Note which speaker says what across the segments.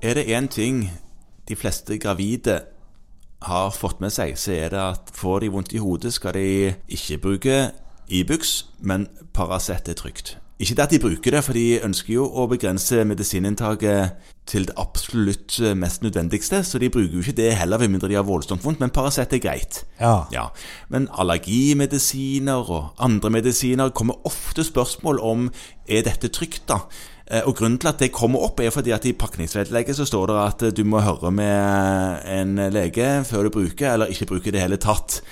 Speaker 1: Er det én ting de fleste gravide har fått med seg, så er det at får de vondt i hodet, skal de ikke bruke Ibux, men Paracet er trygt. Ikke det at de bruker det, for de ønsker jo å begrense medisininntaket til det absolutt mest nødvendigste, så de bruker jo ikke det heller, med mindre de har voldsomt vondt, men Paracet er greit.
Speaker 2: Ja.
Speaker 1: Ja, Men allergimedisiner og andre medisiner kommer ofte spørsmål om er dette trygt, da. Eh, Og Grunnen til at det kommer opp, er fordi at i pakningsvedlegget så står det at eh, du må høre med en lege før du bruker, eller ikke bruker i det hele tatt.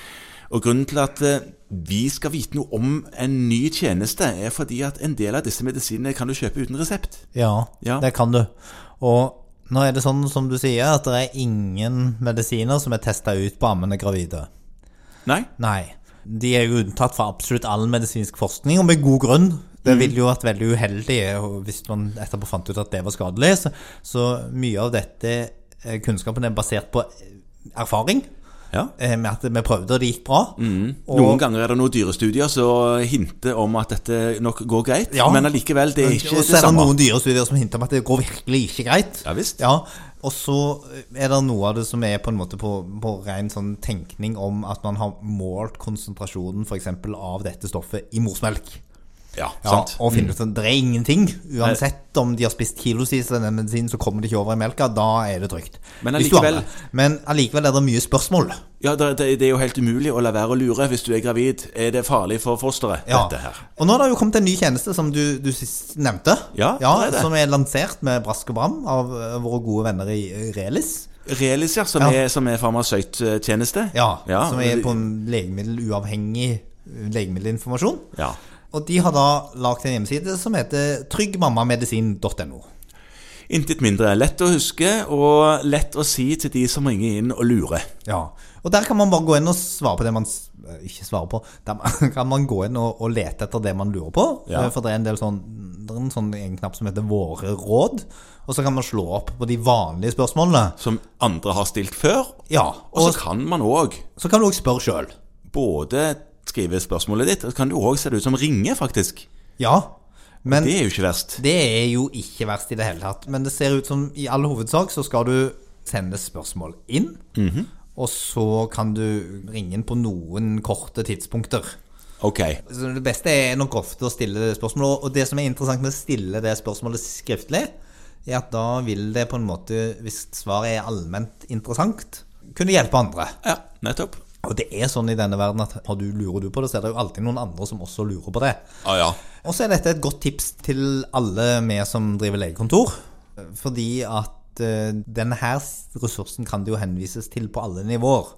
Speaker 1: Og Grunnen til at eh, vi skal vite noe om en ny tjeneste, er fordi at en del av disse medisinene kan du kjøpe uten resept.
Speaker 2: Ja,
Speaker 1: Ja.
Speaker 2: det kan du. Og nå er det sånn som du sier, at det er ingen medisiner som er testa ut på ammende gravide.
Speaker 1: Nei?
Speaker 2: Nei. De er jo unntatt fra absolutt all medisinsk forskning, og med god grunn. Det
Speaker 1: Mm.
Speaker 2: ville jo vært veldig uheldig eh, og hvis man etterpå fant ut at det var skadelig. Så, så mye av dette eh, kunnskapen er basert på eh, erfaring.
Speaker 1: Ja.
Speaker 2: eh, Med at vi prøvde, og det gikk bra. Og,
Speaker 1: Mm. Noen ganger er det noen dyrestudier som hinter om at dette nok går greit,
Speaker 2: Ja.
Speaker 1: men allikevel, det er ikke det
Speaker 2: og så er det
Speaker 1: samme.
Speaker 2: noen dyrestudier som hinter om at det går virkelig ikke greit.
Speaker 1: Ja, visst.
Speaker 2: Ja, og så er det noe av det som er på en måte på, på ren sånn tenkning om at man har målt konsentrasjonen for eksempel av dette stoffet i morsmelk.
Speaker 1: Ja,
Speaker 2: Ja,
Speaker 1: sant. Mm.
Speaker 2: og finne ut at det er ingenting. Uansett om de har spist kilosvis av den medisinen, så kommer det ikke over i melka. Da er det trygt.
Speaker 1: Men
Speaker 2: Hvis du har
Speaker 1: allikevel-
Speaker 2: det. Men allikevel er det mye spørsmål.
Speaker 1: Ja, det, det, det er jo helt umulig å la være å lure hvis du er gravid. Er det farlig for fosteret,
Speaker 2: Ja.
Speaker 1: dette her?
Speaker 2: Og nå har det jo kommet en ny tjeneste som du, du sist nevnte.
Speaker 1: Ja, det er det.
Speaker 2: Som er lansert med brask og bram av eh, våre gode venner i eh, Relis.
Speaker 1: Relis, ja, som,
Speaker 2: Ja.
Speaker 1: Er, som er farmasøyttjeneste.
Speaker 2: Ja,
Speaker 1: ja.
Speaker 2: Som er på en legemiddeluavhengig eh, legemiddelinformasjon.
Speaker 1: Ja.
Speaker 2: Og de har da lagd en hjemmeside som heter tryggmammamedisin.no.
Speaker 1: Intet mindre. Lett å huske, og lett å si til de som ringer inn og lurer.
Speaker 2: Ja, og der kan man bare gå inn og svare på det man s- eh, ikke svarer på. Der man- kan man gå inn og, og lete etter det man lurer på.
Speaker 1: Ja.
Speaker 2: Eh, For det er en del sånn Det er en, sånn, en knapp som heter 'Våre råd'. Og så kan man slå opp på de vanlige spørsmålene.
Speaker 1: Som andre har stilt før.
Speaker 2: Ja,
Speaker 1: Og
Speaker 2: Og
Speaker 1: så kan man òg
Speaker 2: så kan du òg spørre sjøl.
Speaker 1: både skrive spørsmålet ditt, og så kan du òg se det ut som ringer, faktisk.
Speaker 2: Ja. Men
Speaker 1: Det er jo ikke verst.
Speaker 2: Det er jo ikke verst i det hele tatt. Men det ser ut som i all hovedsak så skal du sende spørsmål inn.
Speaker 1: Mhm.
Speaker 2: Og så kan du ringe inn på noen korte tidspunkter.
Speaker 1: Ok.
Speaker 2: Så det beste er nok ofte å stille det spørsmålet. og- Og det som er interessant med å stille det spørsmålet skriftlig, er at da vil det på en måte, hvis svaret er allment interessant, kunne hjelpe andre.
Speaker 1: Ja, nettopp.
Speaker 2: Og det er sånn i denne verden at har du, lurer du på det, så er det jo alltid noen andre som også lurer på det.
Speaker 1: Ah, ja.
Speaker 2: Og så er dette et godt tips til alle vi som driver legekontor. Fordi at eh, denne her ressursen kan det jo henvises til på alle nivåer.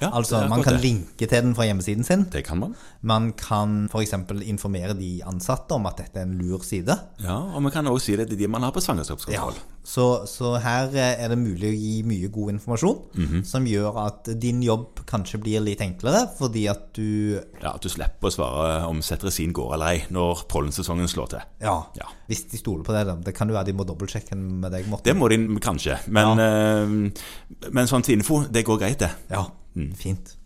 Speaker 1: Ja, det
Speaker 2: altså,
Speaker 1: er
Speaker 2: Man
Speaker 1: godt
Speaker 2: kan
Speaker 1: det.
Speaker 2: linke til den fra hjemmesiden sin.
Speaker 1: Det kan man.
Speaker 2: Man kan f.eks. informere de ansatte om at dette er en lur side.
Speaker 1: Ja, Og man kan òg si det til de man har på svangerskapskontroll.
Speaker 2: Så, så her eh, er det mulig å gi mye god informasjon som gjør at din jobb kanskje blir litt enklere, fordi at du
Speaker 1: Ja, At du slipper å svare om cetirizin går eller ei når pollensesongen slår til.
Speaker 2: Ja,
Speaker 1: Ja.
Speaker 2: hvis de stoler på det. da. Det kan jo være de må dobbeltsjekke med deg, Morten.
Speaker 1: Det må de kanskje, men, eh, men sånn til info, det går greit, det.
Speaker 2: Ja, fint.